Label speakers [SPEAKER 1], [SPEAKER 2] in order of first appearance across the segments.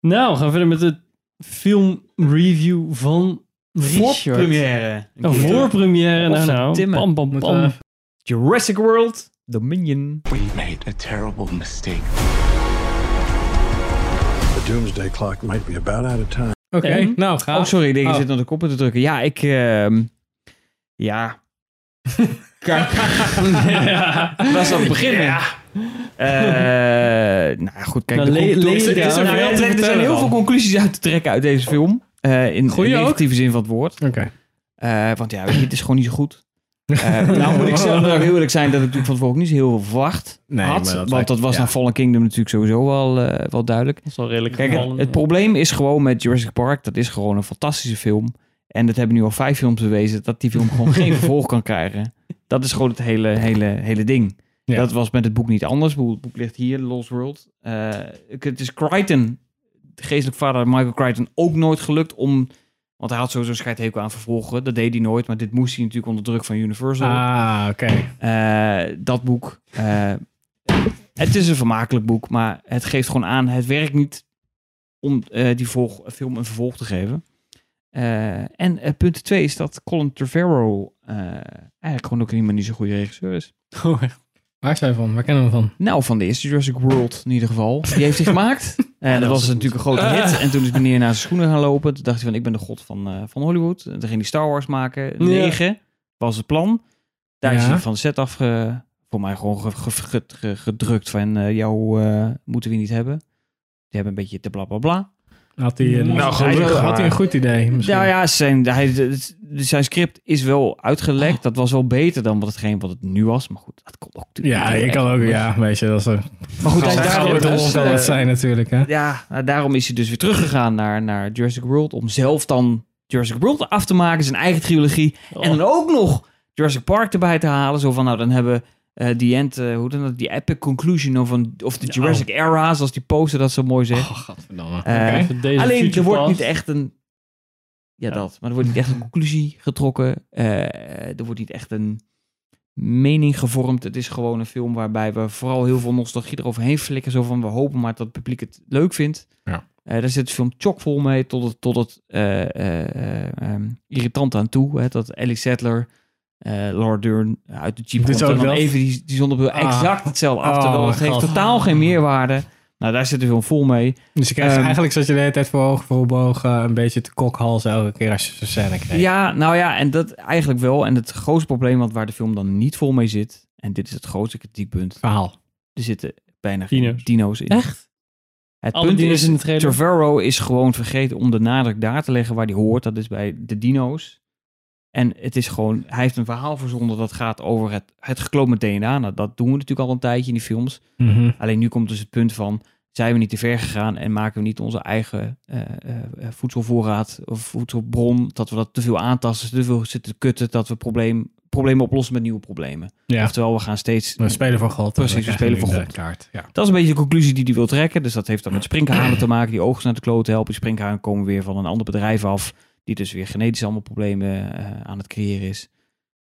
[SPEAKER 1] Nou, we gaan verder met de filmreview van Richard.
[SPEAKER 2] Voor première.
[SPEAKER 1] Een voorpremière. Nou, nou.
[SPEAKER 2] Godverdomme.
[SPEAKER 1] Pam, pam,
[SPEAKER 3] Moeten
[SPEAKER 1] pam.
[SPEAKER 3] we-
[SPEAKER 2] Jurassic World Dominion.
[SPEAKER 4] We made a terrible mistake.
[SPEAKER 5] The doomsday clock might be about out of time.
[SPEAKER 3] Oké,
[SPEAKER 1] En?
[SPEAKER 3] nou ga.
[SPEAKER 2] Oh, sorry. Ik denk, je
[SPEAKER 3] Oh.
[SPEAKER 2] zit naar de koppen te drukken. Ja, ik... ehm, ja. Kan-
[SPEAKER 1] Ja.
[SPEAKER 2] was aan het beginnen. Eh, nou goed, kijk.
[SPEAKER 1] Nou,
[SPEAKER 2] de
[SPEAKER 1] le-
[SPEAKER 2] conclu-
[SPEAKER 1] lees
[SPEAKER 2] is-
[SPEAKER 1] het
[SPEAKER 2] is-
[SPEAKER 1] daar
[SPEAKER 2] nou,
[SPEAKER 1] wel
[SPEAKER 2] er-
[SPEAKER 1] te
[SPEAKER 2] er zijn
[SPEAKER 1] vertellen
[SPEAKER 2] heel
[SPEAKER 1] dan.
[SPEAKER 2] veel conclusies uit te trekken uit deze film. Eh, in
[SPEAKER 3] Goeie
[SPEAKER 2] de
[SPEAKER 3] ook.
[SPEAKER 2] negatieve zin van het woord.
[SPEAKER 3] Oké.
[SPEAKER 2] Eh, want ja, weet je, het is gewoon niet zo goed. Eh, nou moet ik zelf ook heel eerlijk zijn dat ik toen van tevoren ook niet zo heel veel verwacht
[SPEAKER 6] Nee,
[SPEAKER 2] had.
[SPEAKER 6] maar dat
[SPEAKER 2] want
[SPEAKER 6] lijkt-
[SPEAKER 2] dat was
[SPEAKER 6] ja.
[SPEAKER 2] naar Fallen Kingdom natuurlijk sowieso wel, eh, wel duidelijk.
[SPEAKER 1] Dat is wel redelijk
[SPEAKER 2] Kijk, het,
[SPEAKER 1] gevallen,
[SPEAKER 2] het
[SPEAKER 1] ja.
[SPEAKER 2] probleem is gewoon met Jurassic Park, dat is gewoon een fantastische film. En dat hebben nu al vijf films bewezen, dat die film gewoon geen vervolg kan krijgen. Dat is gewoon het hele, hele, hele ding.
[SPEAKER 6] Ja.
[SPEAKER 2] Dat was met het boek niet anders. Ik bedoel, Het boek ligt hier, Lost World. Eh, het is Crichton, de geestelijk vader Michael Crichton, ook nooit gelukt om... Want hij had sowieso een scheidhekel aan vervolgen. Dat deed hij nooit, maar dit moest hij natuurlijk onder druk van Universal.
[SPEAKER 6] Ah, oké.
[SPEAKER 2] Eh, dat boek. eh, het is een vermakelijk boek, maar het geeft gewoon aan, het werkt niet om eh, die volg- film een vervolg te geven. Eh, en eh, punt twee is dat Colin Trevorrow eh, eigenlijk gewoon ook helemaal niet zo'n goede regisseur is.
[SPEAKER 3] Waar zijn we van? Waar kennen we hem van?
[SPEAKER 2] Nou, van de eerste Jurassic World in ieder geval. Die heeft hij gemaakt. En dat was dus natuurlijk een Ah. grote hit. En toen is meneer naar zijn schoenen gaan lopen. Toen dacht hij van, ik ben de god van, eh, van Hollywood. En toen ging hij Star Wars maken. Negen was het plan. Daar is
[SPEAKER 3] Ja.
[SPEAKER 2] hij van de set af, ge- voor mij gewoon ge- ge- ge- ge- gedrukt van, eh, jou eh, moeten we niet hebben. Die hebben een beetje te bla bla bla.
[SPEAKER 3] Had hij een,
[SPEAKER 6] Nou,
[SPEAKER 3] hij-
[SPEAKER 6] gelukkig
[SPEAKER 3] had hij een
[SPEAKER 6] maar.
[SPEAKER 3] goed idee? Misschien.
[SPEAKER 2] Nou ja, zijn, hij, het- zijn script is wel
[SPEAKER 3] Ah.
[SPEAKER 2] uitgelekt. Dat was wel beter dan wat hetgeen wat het nu was. Maar goed, dat kon ook natuurlijk
[SPEAKER 3] Ja,
[SPEAKER 2] niet
[SPEAKER 3] ik
[SPEAKER 2] echt
[SPEAKER 3] kan ook,
[SPEAKER 2] anders.
[SPEAKER 3] ja, weet je, dat is een
[SPEAKER 2] Maar goed, hij is
[SPEAKER 6] Gaan we
[SPEAKER 2] daar
[SPEAKER 6] gaan
[SPEAKER 2] ook
[SPEAKER 6] we
[SPEAKER 3] grote
[SPEAKER 6] dus,
[SPEAKER 3] rol
[SPEAKER 2] dus,
[SPEAKER 3] zal
[SPEAKER 2] eh,
[SPEAKER 3] het zijn natuurlijk, hè?
[SPEAKER 2] Ja, nou, daarom is hij dus weer teruggegaan naar, naar Jurassic World. Om zelf dan Jurassic World af te maken, zijn eigen trilogie.
[SPEAKER 1] Oh.
[SPEAKER 2] En dan ook nog Jurassic Park erbij te halen. Zo van, nou, dan hebben we die end, eh, hoe dan dat, die epic conclusion of, een, of
[SPEAKER 3] Oh.
[SPEAKER 2] de Jurassic Era, zoals die poster dat zo mooi zegt.
[SPEAKER 6] Godverdamme.
[SPEAKER 2] Eh,
[SPEAKER 1] Ja, voor deze
[SPEAKER 2] Alleen, er
[SPEAKER 1] future
[SPEAKER 2] wordt niet
[SPEAKER 1] past.
[SPEAKER 2] echt een... Ja,
[SPEAKER 1] Ja.
[SPEAKER 2] dat. Maar er wordt niet echt een conclusie getrokken. Eh, er wordt niet echt een mening gevormd. Het is gewoon een film waarbij we vooral heel veel nostalgie eroverheen flikken. Zo van, we hopen maar dat het publiek het leuk vindt.
[SPEAKER 6] Ja.
[SPEAKER 2] Eh, daar zit de film chockvol mee tot het, tot het eh, eh, eh, ehm, irritant aan toe. Hè, dat Ellie Sattler, eh Laura Dern uit de Jeep
[SPEAKER 3] Dit
[SPEAKER 2] komt
[SPEAKER 3] ook
[SPEAKER 2] en dan
[SPEAKER 3] wel?
[SPEAKER 2] even die, die zonnebril
[SPEAKER 3] Ah.
[SPEAKER 2] exact hetzelfde af. Terwijl
[SPEAKER 3] Oh,
[SPEAKER 2] het heeft
[SPEAKER 3] God.
[SPEAKER 2] totaal geen meerwaarde. Nou, daar zit de film vol mee.
[SPEAKER 3] Dus je krijgt
[SPEAKER 2] Ehm,
[SPEAKER 3] eigenlijk zat je de hele tijd voor ogen voor bogen een beetje te kokhalzen elke keer als je zo'n scène kreeg.
[SPEAKER 2] Ja, nou ja, en dat eigenlijk wel. En het grootste probleem, want waar de film dan niet vol mee zit, en dit is het grootste kritiekpunt,
[SPEAKER 3] Verhaal.
[SPEAKER 2] er zitten bijna geen
[SPEAKER 1] Dino's.
[SPEAKER 2] dino's, in.
[SPEAKER 1] Echt?
[SPEAKER 2] Het
[SPEAKER 1] Alle
[SPEAKER 2] punt
[SPEAKER 1] dino's
[SPEAKER 2] is,
[SPEAKER 1] in de trailer?
[SPEAKER 2] Trevorrow is gewoon vergeten om de nadruk daar te leggen waar die hoort. Dat is bij de dino's. En het is gewoon, hij heeft een verhaal verzonden dat gaat over het, het gekloon met DNA. Nou, dat doen we natuurlijk al een tijdje in die films.
[SPEAKER 3] Mhm.
[SPEAKER 2] Alleen nu komt dus het punt van, zijn we niet te ver gegaan en maken we niet onze eigen eh, eh, eh, voedselvoorraad of voedselbron, dat we dat te veel aantasten, te veel zitten te kutten, dat we probleem, problemen oplossen met nieuwe problemen.
[SPEAKER 3] Ja.
[SPEAKER 2] Oftewel, we gaan steeds...
[SPEAKER 3] We spelen voor God.
[SPEAKER 2] Precies, we
[SPEAKER 3] krijgen
[SPEAKER 2] spelen
[SPEAKER 3] nu
[SPEAKER 2] voor
[SPEAKER 3] de
[SPEAKER 2] God.
[SPEAKER 3] Kaart. Ja.
[SPEAKER 2] Dat is een beetje de conclusie die hij wil trekken. Dus dat heeft dan met sprinkhanen te maken, die oogst naar de kloot helpen. Die sprinkhanen komen weer van een ander bedrijf af, die dus weer genetisch allemaal problemen eh, aan het creëren is.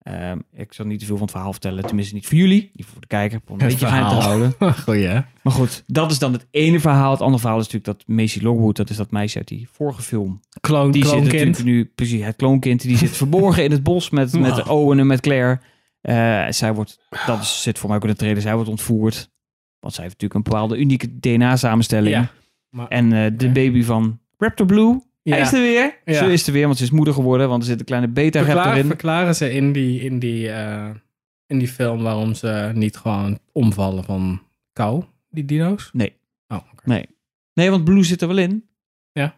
[SPEAKER 2] Ehm, ik zal niet te veel van het verhaal vertellen, tenminste niet voor jullie, niet voor de kijker, om een
[SPEAKER 3] Het
[SPEAKER 2] beetje geheim te
[SPEAKER 3] verhaal.
[SPEAKER 2] houden.
[SPEAKER 3] Goeie, hè?
[SPEAKER 2] Maar goed, dat is dan het ene verhaal. Het andere verhaal is natuurlijk dat Macy Lockwood, dat is dat meisje uit die vorige film.
[SPEAKER 3] Kloon,
[SPEAKER 2] Die zit
[SPEAKER 3] kloonkind.
[SPEAKER 2] natuurlijk nu, precies, het kloonkind, die zit verborgen in het bos met,
[SPEAKER 3] Ah.
[SPEAKER 2] met Owen en met Claire. Eh, zij wordt, dat is- zit voor mij ook in de trailer, zij wordt ontvoerd. Want zij heeft natuurlijk een bepaalde unieke DNA-samenstelling.
[SPEAKER 3] Ja. Maar-
[SPEAKER 2] En eh, de
[SPEAKER 3] Ja.
[SPEAKER 2] baby van Raptor Blue, hij is
[SPEAKER 3] Ja.
[SPEAKER 2] er weer.
[SPEAKER 3] Ja.
[SPEAKER 2] Ze is er weer, want ze is moeder geworden, want er zit een kleine beta-raptor
[SPEAKER 3] Verklaar,
[SPEAKER 2] in.
[SPEAKER 3] verklaren ze in die, in, die, eh, in die film waarom ze niet gewoon omvallen van kou, die dino's?
[SPEAKER 2] Nee.
[SPEAKER 3] Oh, oké.
[SPEAKER 2] Nee. Nee, want Blue zit er wel in.
[SPEAKER 3] Ja.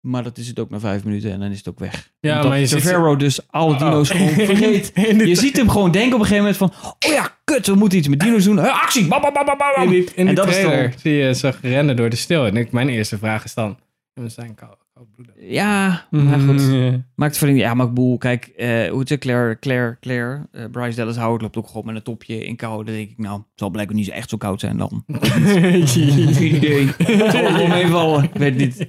[SPEAKER 2] Maar dat is het ook na vijf minuten en dan is het ook weg.
[SPEAKER 3] Ja,
[SPEAKER 2] Omdat
[SPEAKER 3] maar je ziet ze-
[SPEAKER 2] Trevorrow dus alle
[SPEAKER 3] Oh.
[SPEAKER 2] dino's gewoon vergeet.
[SPEAKER 3] In die-
[SPEAKER 2] Je ziet hem gewoon denken op een gegeven moment van... Oh ja, kut, we moeten iets met dino's doen. Huh, actie! Bam, bam, bam, bam, bam.
[SPEAKER 3] In die, in
[SPEAKER 2] En
[SPEAKER 3] die
[SPEAKER 2] dat is
[SPEAKER 3] trailer
[SPEAKER 2] dan-
[SPEAKER 3] zie je ze rennen door de stil. En ik, mijn eerste vraag is dan, we zijn kou, koudbloedig.
[SPEAKER 2] Ja,
[SPEAKER 1] Mm-hmm.
[SPEAKER 2] maar goed.
[SPEAKER 1] Ja.
[SPEAKER 2] Maakt verder niet. Ja, maakt boel. Kijk, eh, hoe het is, Claire, Claire, Claire. eh, Bryce Dallas Howard loopt ook gewoon met een topje in kou. Dan denk ik, nou, het zal blijkbaar niet zo echt zo koud zijn dan. Geen idee. Het zal wel meevallen. Ik eh, Weet niet.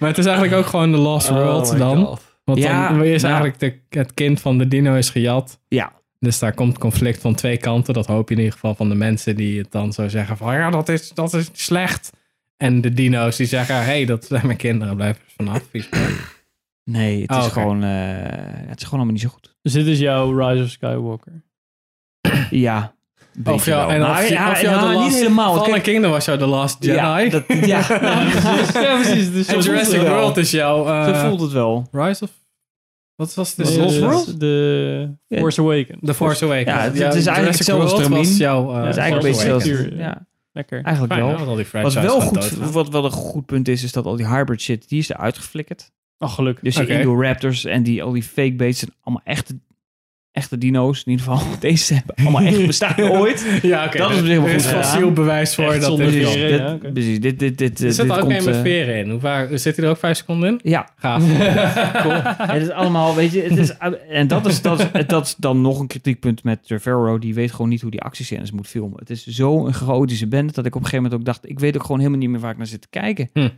[SPEAKER 3] Maar het is eigenlijk ook gewoon de Lost World dan. Want
[SPEAKER 2] Oh Ja,
[SPEAKER 3] dan is
[SPEAKER 2] nou-
[SPEAKER 3] eigenlijk de, het kind van de dino is gejat.
[SPEAKER 2] Ja,
[SPEAKER 3] Dus daar komt conflict van twee kanten. Dat hoop je in ieder geval van de mensen die het dan zo zeggen van... Ja, dat is, dat is slecht. En de dino's die zeggen, hé, hey, dat zijn mijn kinderen, blijf er vanaf. vies
[SPEAKER 2] Oh,
[SPEAKER 3] beest.
[SPEAKER 2] Nee, het,
[SPEAKER 3] Oh,
[SPEAKER 2] is
[SPEAKER 3] oké.
[SPEAKER 2] gewoon, eh, het is gewoon allemaal niet zo goed.
[SPEAKER 1] Dus dit is jouw Rise of Skywalker.
[SPEAKER 2] Ja. een
[SPEAKER 3] Of
[SPEAKER 2] beetje
[SPEAKER 3] jou,
[SPEAKER 2] wel.
[SPEAKER 3] en of,
[SPEAKER 2] Maar
[SPEAKER 3] je-
[SPEAKER 2] ja,
[SPEAKER 3] of jou
[SPEAKER 2] ja,
[SPEAKER 3] de
[SPEAKER 2] niet
[SPEAKER 3] last,
[SPEAKER 2] helemaal, want
[SPEAKER 3] Fallen
[SPEAKER 2] kijk-
[SPEAKER 3] Kingdom was jou de last Jedi.
[SPEAKER 2] Ja, dat, ja.
[SPEAKER 1] Ja, precies. Dus
[SPEAKER 3] en Jurassic World is jouw eh,
[SPEAKER 2] Zo voelt het wel.
[SPEAKER 3] Rise of... Wat was het?
[SPEAKER 1] De,
[SPEAKER 2] Lost World?
[SPEAKER 1] De
[SPEAKER 2] Ja.
[SPEAKER 1] Force Awakens.
[SPEAKER 3] The Force Awakens.
[SPEAKER 2] Ja, het- het is eigenlijk
[SPEAKER 3] Jurassic
[SPEAKER 2] hetzelfde als
[SPEAKER 3] World
[SPEAKER 2] Termin.
[SPEAKER 3] was jouw... eh,
[SPEAKER 1] Ja,
[SPEAKER 2] Dat is
[SPEAKER 1] Force
[SPEAKER 2] eigenlijk een beetje
[SPEAKER 1] Awakens.
[SPEAKER 2] hetzelfde.
[SPEAKER 1] Puur,
[SPEAKER 2] Ja,
[SPEAKER 1] Lekker.
[SPEAKER 2] eigenlijk
[SPEAKER 3] Fijn,
[SPEAKER 2] wel.
[SPEAKER 3] hè, want al die
[SPEAKER 2] Wat
[SPEAKER 3] franchises
[SPEAKER 2] wel
[SPEAKER 3] gaan
[SPEAKER 2] goed,
[SPEAKER 3] doodgaan.
[SPEAKER 2] wat wel een goed punt is, is dat al die hybrid shit, die is eruit geflikkerd.
[SPEAKER 1] Oh, geluk.
[SPEAKER 2] Dus die
[SPEAKER 3] Oké.
[SPEAKER 2] Indoraptors en die, al die fake baits zijn allemaal echte, echte dino's. In ieder geval, deze hebben allemaal echt bestaan ooit.
[SPEAKER 3] Ja, oké.
[SPEAKER 2] Dat is op zich wel
[SPEAKER 3] Er
[SPEAKER 2] goed
[SPEAKER 3] is
[SPEAKER 2] gedaan.
[SPEAKER 3] fossiel bewijs voor
[SPEAKER 1] Echt
[SPEAKER 3] dat
[SPEAKER 1] zonder
[SPEAKER 3] dit
[SPEAKER 1] die
[SPEAKER 2] Precies,
[SPEAKER 3] kan.
[SPEAKER 1] reden,
[SPEAKER 2] dit,
[SPEAKER 1] ja, oké.
[SPEAKER 2] precies, dit, dit, dit,
[SPEAKER 3] Er
[SPEAKER 2] dit,
[SPEAKER 3] zit
[SPEAKER 2] dit
[SPEAKER 3] ook
[SPEAKER 2] komt...
[SPEAKER 3] een met
[SPEAKER 2] eh,
[SPEAKER 3] veren in. Hoe vaak, zit hij er ook vijf seconden in?
[SPEAKER 2] ja,
[SPEAKER 3] Gaaf.
[SPEAKER 2] het is allemaal, weet je, het is, en dat is, dat, is, dat is dan nog een kritiekpunt met Trevorrow. Die weet gewoon niet hoe die actiescènes moet filmen. Het is zo'n chaotische band dat ik op een gegeven moment ook dacht, ik weet ook gewoon helemaal niet meer waar ik naar zit te kijken.
[SPEAKER 3] Hm.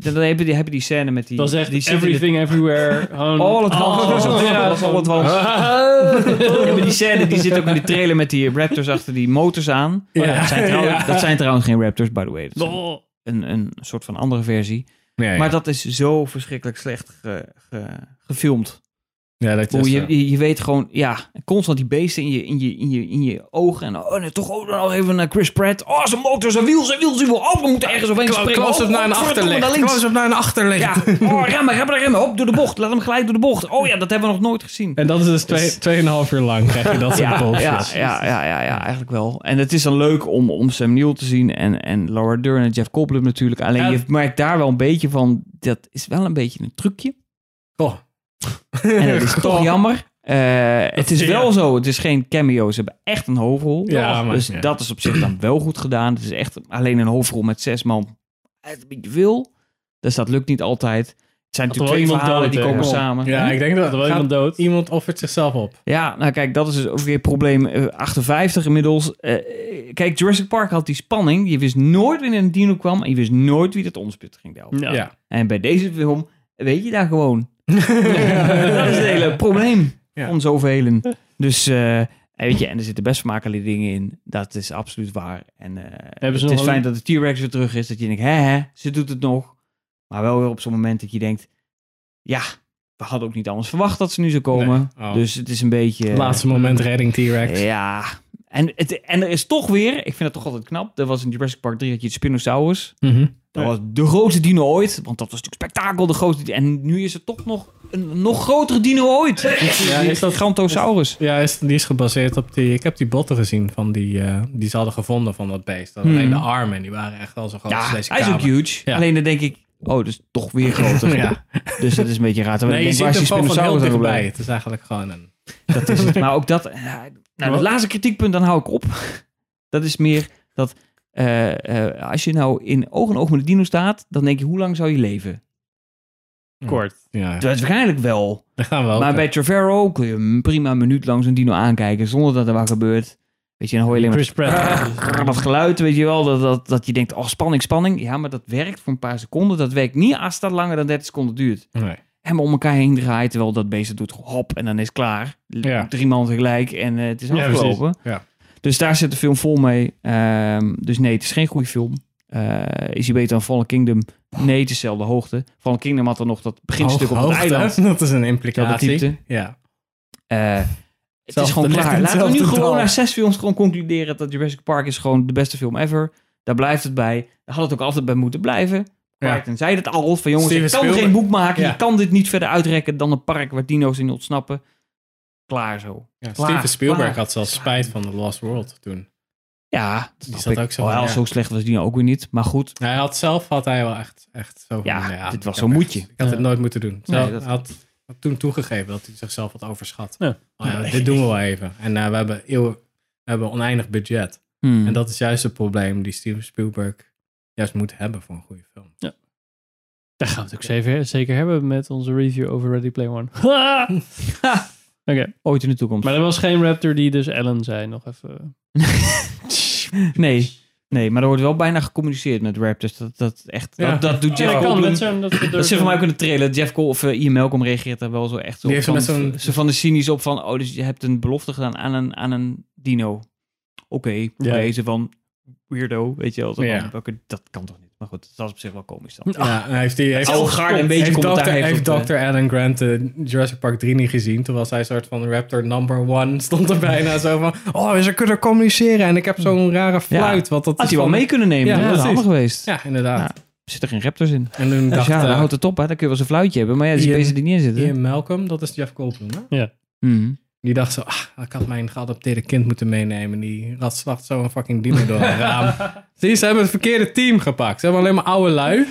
[SPEAKER 2] Dan heb je, die, heb je die scène met die...
[SPEAKER 1] Dat is echt
[SPEAKER 2] die zit in de-
[SPEAKER 1] everything, everywhere. Gewoon
[SPEAKER 2] All at once.
[SPEAKER 1] Oh,
[SPEAKER 2] Ja, dat is all at once. Ja, maar die scène die zit ook in die trailer met die raptors achter die motors aan.
[SPEAKER 3] Ja.
[SPEAKER 2] Dat, zijn trouwens, dat zijn trouwens geen raptors, by the way. Dat is
[SPEAKER 1] Oh.
[SPEAKER 2] een, een soort van andere versie.
[SPEAKER 3] Nee,
[SPEAKER 2] Maar dat is zo verschrikkelijk slecht ge- ge- gefilmd.
[SPEAKER 3] ja, dat
[SPEAKER 2] Hoe
[SPEAKER 3] is,
[SPEAKER 2] je,
[SPEAKER 3] eh,
[SPEAKER 2] je, je weet gewoon, ja, constant die beesten in je, in je, in je, in je ogen. En oh, nee, toch ook nog even naar Chris Pratt. Oh, zijn motor, zijn wiel, zijn wiel, zijn wiel. Oh, we moeten ergens overheen
[SPEAKER 3] Close-
[SPEAKER 2] springen.
[SPEAKER 3] Close-up
[SPEAKER 2] oh,
[SPEAKER 3] naar een
[SPEAKER 2] oh, verdomme,
[SPEAKER 3] achterlicht.
[SPEAKER 2] naar links.
[SPEAKER 3] Close-up naar een achterlicht.
[SPEAKER 2] Ja, oh, remmen, remmen, remmen. Hop, door de bocht. Laat hem gelijk door de bocht. Oh ja, dat hebben we nog nooit gezien.
[SPEAKER 3] En dat is dus twee- 2,5 uur lang krijg je dat soort
[SPEAKER 2] Ja,
[SPEAKER 3] bullshit.
[SPEAKER 2] ja, ja, ja, ja, ja, eigenlijk wel. En het is dan leuk om, om Sam Neill te zien en, en Laura Dern en Jeff Goldblum natuurlijk. Alleen
[SPEAKER 3] Ja.
[SPEAKER 2] je merkt daar wel een beetje van, dat is wel een beetje een trucje.
[SPEAKER 3] Goh.
[SPEAKER 2] En dat is toch
[SPEAKER 3] Goh.
[SPEAKER 2] jammer. Eh, het is
[SPEAKER 3] Ja.
[SPEAKER 2] wel zo, het is geen cameo, ze hebben echt een hoofdrol.
[SPEAKER 3] Ja, maar-
[SPEAKER 2] dus
[SPEAKER 3] ja.
[SPEAKER 2] dat is op zich dan wel goed gedaan. Het is echt alleen een hoofdrol met zes man. Het is een beetje veel, dus dat lukt niet altijd. Het zijn
[SPEAKER 1] Had
[SPEAKER 2] natuurlijk twee
[SPEAKER 1] wel iemand
[SPEAKER 2] verhalen
[SPEAKER 1] dood,
[SPEAKER 2] die
[SPEAKER 1] hè?
[SPEAKER 2] komen
[SPEAKER 1] Kom.
[SPEAKER 2] samen.
[SPEAKER 3] Ja, ik denk
[SPEAKER 1] Dat
[SPEAKER 3] dat
[SPEAKER 1] er wel iemand
[SPEAKER 3] gaat,
[SPEAKER 1] dood.
[SPEAKER 3] iemand offert zichzelf op.
[SPEAKER 2] Ja, nou kijk, dat is dus ook weer probleem eh, 58 inmiddels. Eh, eh, kijk, Jurassic Park had die spanning. Je wist nooit wanneer een dino kwam en je wist nooit wie dat omspit ging delven.
[SPEAKER 1] Ja.
[SPEAKER 3] Ja.
[SPEAKER 2] En bij deze film weet je daar gewoon. dat is het hele probleem
[SPEAKER 3] Ja.
[SPEAKER 2] van zoveel. Dus, eh, en weet je, en er zitten best vermakelijke dingen in. Dat is absoluut waar. En eh,
[SPEAKER 1] Hebben ze
[SPEAKER 2] het
[SPEAKER 1] nog
[SPEAKER 2] is
[SPEAKER 1] een-
[SPEAKER 2] fijn dat de T-Rex weer terug is. Dat je denkt, hè, hè, ze doet het nog. Maar wel weer op zo'n moment dat je denkt, ja, we hadden ook niet anders verwacht dat ze nu zou komen.
[SPEAKER 3] Nee. Oh.
[SPEAKER 2] Dus het is een beetje...
[SPEAKER 3] Laatste moment redding T-Rex.
[SPEAKER 2] Ja. En, het, en er is toch weer, ik vind dat toch altijd knap. Er was in Jurassic Park 3 had je het Spinosaurus.
[SPEAKER 3] Mhm.
[SPEAKER 2] Dat was de grootste dino ooit. Want dat was natuurlijk spektakel, de grootste dino. En nu is het toch nog een nog grotere dino ooit.
[SPEAKER 3] Ja,
[SPEAKER 2] Die
[SPEAKER 3] is dat-
[SPEAKER 2] Gigantosaurus.
[SPEAKER 3] Ja, is, die is gebaseerd op die... Ik heb die botten gezien van die, eh, die ze hadden gevonden van dat beest. Dat
[SPEAKER 2] Hmm.
[SPEAKER 3] Alleen de armen, die waren echt al zo groot
[SPEAKER 2] Ja,
[SPEAKER 3] als
[SPEAKER 2] hij
[SPEAKER 3] oh, deze
[SPEAKER 2] is ook
[SPEAKER 3] kamer.
[SPEAKER 2] huge.
[SPEAKER 3] Ja.
[SPEAKER 2] Alleen dan denk ik, oh, dat is toch weer groter.
[SPEAKER 3] Ja.
[SPEAKER 2] Dus dat is een beetje raar. Terwijl
[SPEAKER 3] Nee, je
[SPEAKER 2] ik
[SPEAKER 3] ziet
[SPEAKER 2] denk, waar is
[SPEAKER 3] hem gewoon
[SPEAKER 2] die
[SPEAKER 3] van heel
[SPEAKER 2] Spinosaurus dan
[SPEAKER 3] dichtbij.
[SPEAKER 2] gebleven?
[SPEAKER 3] Het is eigenlijk gewoon een...
[SPEAKER 2] Dat is het. Maar ook dat. eh, Nou, het laatste kritiekpunt, dan hou ik op. Dat is meer dat eh, eh, als je nou in oog en oog met de dino staat, dan denk je, hoe lang zou je leven? Hmm.
[SPEAKER 1] Kort.
[SPEAKER 3] Ja,
[SPEAKER 2] Dat is waarschijnlijk wel.
[SPEAKER 3] daar gaan we ook. eh,
[SPEAKER 2] Maar bij Trevorrow kun je hem prima een minuut lang zo'n dino aankijken zonder dat er wat gebeurt. Weet je, dan hoor je alleen maar
[SPEAKER 1] Chris Pratt.
[SPEAKER 2] dat geluid, weet je wel, dat, dat, dat je denkt, oh spanning, spanning. Ja, maar dat werkt voor een paar seconden. Dat werkt niet als dat langer dan 30 seconden duurt.
[SPEAKER 3] Nee.
[SPEAKER 2] En om elkaar heen draait, terwijl dat beest het doet hop en dan is het klaar. L-
[SPEAKER 3] Ja.
[SPEAKER 2] Drie man tegelijk en eh, het is
[SPEAKER 1] Ja,
[SPEAKER 2] afgelopen.
[SPEAKER 3] precies. Ja.
[SPEAKER 2] Dus daar zit de film vol mee. Ehm, dus nee, het is geen goede film. Eh, is hij beter dan Fallen Kingdom? Nee, het is dezelfde hoogte. Fallen Kingdom had dan nog dat beginstuk
[SPEAKER 3] Hoog-
[SPEAKER 2] op het
[SPEAKER 3] hoogte,
[SPEAKER 2] eiland.
[SPEAKER 3] Dat is een
[SPEAKER 2] Dat de
[SPEAKER 3] implicatie.
[SPEAKER 2] diepte.
[SPEAKER 3] Ja.
[SPEAKER 2] Eh, het is
[SPEAKER 3] Zelfde
[SPEAKER 2] gewoon
[SPEAKER 3] licht
[SPEAKER 2] klaar.
[SPEAKER 3] in
[SPEAKER 2] Laten we nu
[SPEAKER 3] hetzelfde
[SPEAKER 2] gewoon
[SPEAKER 3] dal.
[SPEAKER 2] na zes films gewoon concluderen dat Jurassic Park is gewoon de beste film ever. Daar blijft het bij. Daar had het ook altijd bij moeten blijven.
[SPEAKER 3] Ja.
[SPEAKER 2] Ja. En zei het al, van jongens,
[SPEAKER 3] Steven
[SPEAKER 2] ik kan
[SPEAKER 3] Spielberg.
[SPEAKER 2] geen boek maken.
[SPEAKER 3] Ja.
[SPEAKER 2] Je kan dit niet verder uitrekken dan een park waar dino's in ontsnappen. Klaar zo.
[SPEAKER 3] Ja,
[SPEAKER 2] Klaar,
[SPEAKER 3] Steven Spielberg
[SPEAKER 2] klaar.
[SPEAKER 3] had zelfs spijt van The Lost World toen.
[SPEAKER 2] Ja, dat snap
[SPEAKER 3] zat
[SPEAKER 2] ik.
[SPEAKER 3] ook zo
[SPEAKER 2] Oh,
[SPEAKER 3] van,
[SPEAKER 2] ja,
[SPEAKER 3] ja.
[SPEAKER 2] zo slecht was Dino ook weer niet. Maar goed,
[SPEAKER 3] Hij had zelf had hij wel echt, echt zo van... nou
[SPEAKER 2] Ja, dit
[SPEAKER 3] ik
[SPEAKER 2] was
[SPEAKER 3] heb
[SPEAKER 2] zo'n
[SPEAKER 3] echt-
[SPEAKER 2] moedje.
[SPEAKER 3] Ik had het nooit moeten doen. Zelf-
[SPEAKER 2] dat-
[SPEAKER 3] Hij had, had toen toegegeven dat hij zichzelf had overschat.
[SPEAKER 1] Ja.
[SPEAKER 3] Oh ja, dit doen we wel even. En eh, we, hebben eeuwen, we hebben oneindig budget.
[SPEAKER 2] hmm.
[SPEAKER 3] En dat is juist het probleem die Steven Spielberg juist moet hebben voor een goede film.
[SPEAKER 1] Daar gaan we het ook zeker, zeker hebben met onze review over Ready Player One. Ha! Oké.
[SPEAKER 2] ooit in de toekomst.
[SPEAKER 1] Maar er was geen raptor die dus Ellen zei, nog even.
[SPEAKER 2] nee, nee, maar er wordt wel bijna gecommuniceerd met Raptors. Dat, dat, echt,
[SPEAKER 3] Ja.
[SPEAKER 2] dat, dat doet Jeff
[SPEAKER 1] dat
[SPEAKER 2] Goldblum.
[SPEAKER 1] zijn... Dat,
[SPEAKER 2] Dat zit voor mij ook in de trailer. Jeff Cole of eh, Ian Malcolm reageert daar wel zo echt zo
[SPEAKER 3] Die
[SPEAKER 2] op.
[SPEAKER 3] heeft
[SPEAKER 2] Van,
[SPEAKER 3] zo met zo'n-
[SPEAKER 2] zo van de cynisch op van... Oh, dus je hebt een belofte gedaan aan een, aan een dino. Oké, oké.
[SPEAKER 1] Ja.
[SPEAKER 2] Ze van weirdo, weet je wel. Zo van,
[SPEAKER 3] Ja.
[SPEAKER 2] oké, dat kan toch niet. Maar goed, dat is op zich wel komisch dan.
[SPEAKER 3] Ja, en heeft die, heeft,
[SPEAKER 2] Al gaar een beetje
[SPEAKER 3] heeft
[SPEAKER 2] commentaar
[SPEAKER 3] Dr.
[SPEAKER 2] heeft
[SPEAKER 3] heeft
[SPEAKER 2] op, eh,
[SPEAKER 3] Dr. Alan Grant de Jurassic Park 3 niet gezien. Terwijl zij een soort van Raptor number one stond er bijna zo van... Oh, ze kunnen communiceren en ik heb zo'n rare fluit. wat dat
[SPEAKER 2] Had
[SPEAKER 3] is
[SPEAKER 2] hij wel
[SPEAKER 3] van-
[SPEAKER 2] mee kunnen nemen,
[SPEAKER 3] Ja,
[SPEAKER 2] dat was
[SPEAKER 3] precies.
[SPEAKER 2] handig geweest.
[SPEAKER 3] Ja, inderdaad.
[SPEAKER 2] Ja. Zitten geen raptors in.
[SPEAKER 3] En toen
[SPEAKER 2] Dus
[SPEAKER 3] dacht
[SPEAKER 2] ja, dan
[SPEAKER 3] eh,
[SPEAKER 2] houdt het op, hè. Dan kun je wel eens een fluitje hebben. Maar ja, die
[SPEAKER 3] Ian-
[SPEAKER 2] beesten die niet in zitten.
[SPEAKER 3] Ian Malcolm, dat is Jeff Goldblum, hè?
[SPEAKER 2] Mhm.
[SPEAKER 3] Die dacht zo, ah, ik had mijn geadopteerde kind moeten meenemen. Die rat slacht zo een fucking dino door een raam. Zie, ze hebben het verkeerde team gepakt. Ze hebben alleen maar oude lui.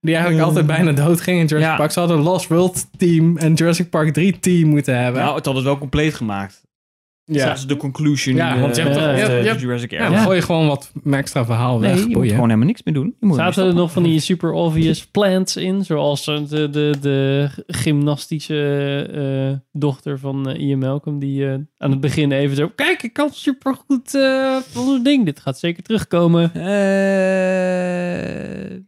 [SPEAKER 3] Die eigenlijk altijd bijna dood gingen in Jurassic
[SPEAKER 2] Ja.
[SPEAKER 3] Park. Ze hadden een Lost World team en Jurassic Park 3 team moeten hebben.
[SPEAKER 2] Nou, het had het wel compleet gemaakt. Ja.
[SPEAKER 3] ja.
[SPEAKER 2] Dat is de conclusion.
[SPEAKER 3] Ja, want je
[SPEAKER 2] eh,
[SPEAKER 1] hebt toch-
[SPEAKER 2] uit,
[SPEAKER 1] je
[SPEAKER 2] eh,
[SPEAKER 3] hebt-
[SPEAKER 2] de
[SPEAKER 3] je hebt-
[SPEAKER 2] Jurassic
[SPEAKER 3] Ja,
[SPEAKER 2] Era.
[SPEAKER 3] dan gooi je gewoon wat extra verhaal
[SPEAKER 2] Nee,
[SPEAKER 3] weg.
[SPEAKER 2] je moet
[SPEAKER 3] boeien.
[SPEAKER 2] gewoon helemaal niks meer doen. Je moet
[SPEAKER 1] Zaten er
[SPEAKER 2] helemaal
[SPEAKER 1] nog van die super obvious plants in? Zoals eh, de, de, de gymnastische eh, dochter van eh, Ian Malcolm. Die eh, aan het begin even zo... Kijk, ik kan supergoed eh van zo'n ding. Dit gaat zeker terugkomen.
[SPEAKER 2] stoppen. Eh,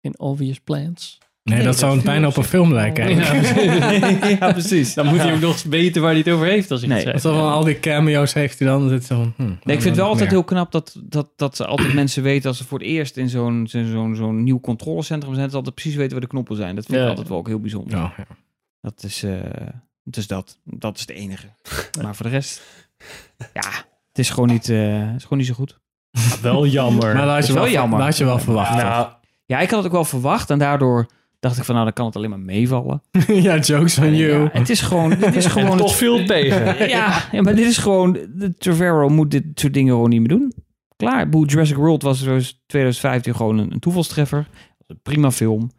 [SPEAKER 1] In obvious plants.
[SPEAKER 3] Nee, dat zou bijna op een film lijken. eigenlijk.
[SPEAKER 2] ja, precies.
[SPEAKER 1] Dan moet hij ook nog eens weten waar hij het over heeft als hij
[SPEAKER 2] Nee.
[SPEAKER 1] het
[SPEAKER 3] Als
[SPEAKER 1] zegt.
[SPEAKER 3] dan van al die cameo's heeft hij dan, dan zit ze van... hm,
[SPEAKER 2] Nee, ik vind het wel
[SPEAKER 3] nog
[SPEAKER 2] altijd
[SPEAKER 3] meer.
[SPEAKER 2] heel knap dat, dat, dat ze altijd mensen weten als ze voor het eerst in zo'n zo'n zo'n zo'n nieuw controlecentrum zijn, dat ze altijd precies weten waar de knoppen zijn. Dat vind ik
[SPEAKER 1] Ja.
[SPEAKER 2] altijd wel ook heel bijzonder.
[SPEAKER 3] Ja, ja.
[SPEAKER 2] Dat is, eh, dus dat, dat is het enige. Maar voor de rest, ja, het is gewoon niet, eh, het is gewoon niet zo goed.
[SPEAKER 1] Wel jammer.
[SPEAKER 3] Maar dat had
[SPEAKER 2] is
[SPEAKER 3] je
[SPEAKER 2] wel
[SPEAKER 3] wel,
[SPEAKER 2] jammer.
[SPEAKER 3] dat had je wel verwacht.
[SPEAKER 2] Nou,
[SPEAKER 3] toch?
[SPEAKER 2] Ja, ik had het ook wel verwacht en daardoor dacht ik van, nou, dan kan het alleen maar meevallen.
[SPEAKER 3] ja, jokes on you.
[SPEAKER 2] Ja, het is gewoon, dit is gewoon het
[SPEAKER 1] veel tegen.
[SPEAKER 2] ja, ja, maar dit is gewoon... de Trevorrow moet dit soort dingen gewoon niet meer doen. Klaar. Ik bedoel, Jurassic World was in 2015 gewoon een, een toevalstreffer. Een prima film.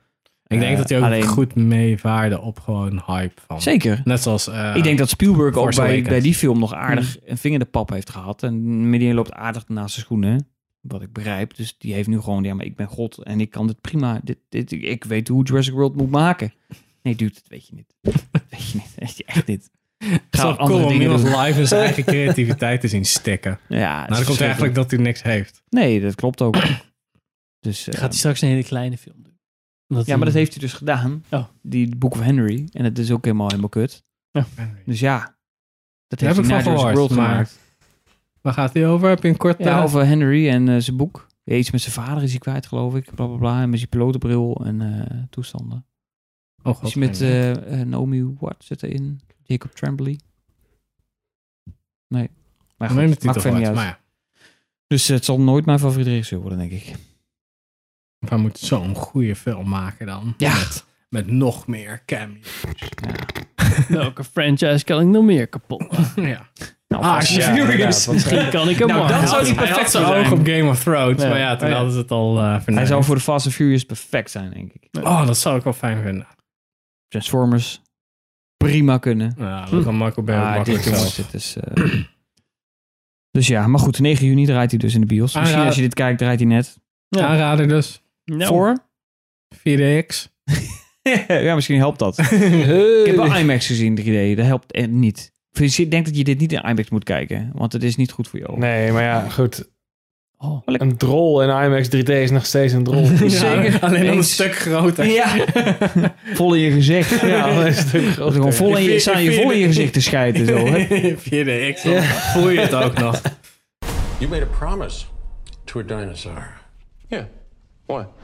[SPEAKER 3] Ik denk
[SPEAKER 2] Eh,
[SPEAKER 3] dat hij ook
[SPEAKER 2] alleen-
[SPEAKER 3] goed meevaarde op gewoon hype van.
[SPEAKER 2] Zeker.
[SPEAKER 3] Net zoals... eh,
[SPEAKER 2] ik denk dat Spielberg ook
[SPEAKER 3] Force
[SPEAKER 2] bij,
[SPEAKER 3] Awakens.
[SPEAKER 2] bij die film nog aardig een vinger in de pap heeft gehad. En Midian loopt aardig naast zijn schoenen. hè, Wat ik begrijp. Dus die heeft nu gewoon... Ja, maar ik ben God en ik kan dit prima... Dit, dit, ik weet hoe Jurassic World moet maken. Nee, dude, dat weet je niet. Dat weet je niet. Dat weet je echt niet.
[SPEAKER 3] Het is
[SPEAKER 2] Ga
[SPEAKER 3] wel cool
[SPEAKER 2] andere
[SPEAKER 3] om
[SPEAKER 2] dingen
[SPEAKER 3] iemand
[SPEAKER 2] doen.
[SPEAKER 3] live in zijn eigen creativiteit te zien stikken. Nou,
[SPEAKER 2] Ja, het is
[SPEAKER 3] dan komt
[SPEAKER 2] verschrikkelijk.
[SPEAKER 3] eigenlijk dat hij niks heeft.
[SPEAKER 2] Nee, dat klopt ook. Dus, eh,
[SPEAKER 1] Gaat hij straks een hele kleine film doen. Omdat
[SPEAKER 2] ja, maar dat heeft hij dus gedaan.
[SPEAKER 1] Oh.
[SPEAKER 2] Die Book of Henry. En het is ook helemaal helemaal kut. Dus ja, dat heeft hij
[SPEAKER 3] Daar heb ik van
[SPEAKER 2] na Jurassic
[SPEAKER 3] gehoord.
[SPEAKER 2] World
[SPEAKER 3] Maar
[SPEAKER 2] gemaakt.
[SPEAKER 3] waar gaat hij over? Heb je een kort
[SPEAKER 2] Ja,
[SPEAKER 3] eh,
[SPEAKER 2] over Henry en eh, zijn boek. Ja, Iets met zijn vader is hij kwijt, geloof ik. Bla, bla, bla. En met zijn pilotenbril en eh, toestanden.
[SPEAKER 3] Oh,
[SPEAKER 2] Is
[SPEAKER 3] god,
[SPEAKER 2] hij met
[SPEAKER 3] nee.
[SPEAKER 2] eh eh, Naomi Watt zit erin. Jacob Tremblay. Nee. Maar
[SPEAKER 3] Neem de
[SPEAKER 2] goed, maakt
[SPEAKER 3] titel
[SPEAKER 2] verder niet
[SPEAKER 3] uit.
[SPEAKER 2] uit.
[SPEAKER 3] Maar ja,
[SPEAKER 2] Dus eh, het zal nooit mijn favoriete regisseur worden, denk ik.
[SPEAKER 3] we moeten zo'n goede film maken dan.
[SPEAKER 2] Ja.
[SPEAKER 3] Met, met nog meer cameo's.
[SPEAKER 1] Welke franchise kan ik nog meer kapot? maken?
[SPEAKER 3] ja.
[SPEAKER 2] Nou,
[SPEAKER 3] Ah,
[SPEAKER 2] vast-
[SPEAKER 3] shit.
[SPEAKER 2] ja, inderdaad, want- eh,
[SPEAKER 1] Misschien kan ik hem
[SPEAKER 3] Nou,
[SPEAKER 1] maken.
[SPEAKER 3] dat zou die
[SPEAKER 1] Hij had
[SPEAKER 3] perfecte
[SPEAKER 1] zijn
[SPEAKER 3] oog
[SPEAKER 1] ogen
[SPEAKER 3] op Game of Thrones.
[SPEAKER 1] Ja.
[SPEAKER 3] Maar ja, toen
[SPEAKER 1] Oh, ja.
[SPEAKER 3] hadden ze het al eh
[SPEAKER 2] Hij
[SPEAKER 3] verneukt.
[SPEAKER 2] zou voor de Fast and Furious perfect zijn, denk ik.
[SPEAKER 3] Oh, dat zou ik wel fijn vinden.
[SPEAKER 2] Transformers prima kunnen.
[SPEAKER 3] Nou, dat kan Michael Bay ook
[SPEAKER 2] Maar Ah, dit,
[SPEAKER 3] makkelijk zelf.
[SPEAKER 2] jongens, dit is... eh, dus ja, maar goed, 9 juni draait hij dus in de bios.
[SPEAKER 3] Ah,
[SPEAKER 2] Misschien
[SPEAKER 3] ja.
[SPEAKER 2] als je dit kijkt, draait hij net.
[SPEAKER 1] Ja.
[SPEAKER 3] Aanrader dus.
[SPEAKER 1] Nou,
[SPEAKER 2] Voor?
[SPEAKER 3] 4DX.
[SPEAKER 2] ja, misschien helpt dat. Ik heb wel IMAX gezien, 3D. Dat helpt eh, niet. Dus Ik denk dat je dit niet in IMAX moet kijken, want het is niet goed voor je ogen.
[SPEAKER 6] Nee, maar ja, goed.
[SPEAKER 2] Oh.
[SPEAKER 6] Een drol in IMAX 3D is nog steeds een drol.
[SPEAKER 3] Ja,
[SPEAKER 2] Zeker.
[SPEAKER 3] Alleen dan een
[SPEAKER 2] Eens.
[SPEAKER 3] stuk groter.
[SPEAKER 2] Ja, vol in je gezicht. Ja,
[SPEAKER 6] dat is natuurlijk
[SPEAKER 2] dat is gewoon vol in je, staan je vol in je gezicht te schijten. Zo, hè.
[SPEAKER 3] Via de X, dan voel je het ook nog.
[SPEAKER 5] You made a promise to a dinosaur.
[SPEAKER 7] Yeah. What?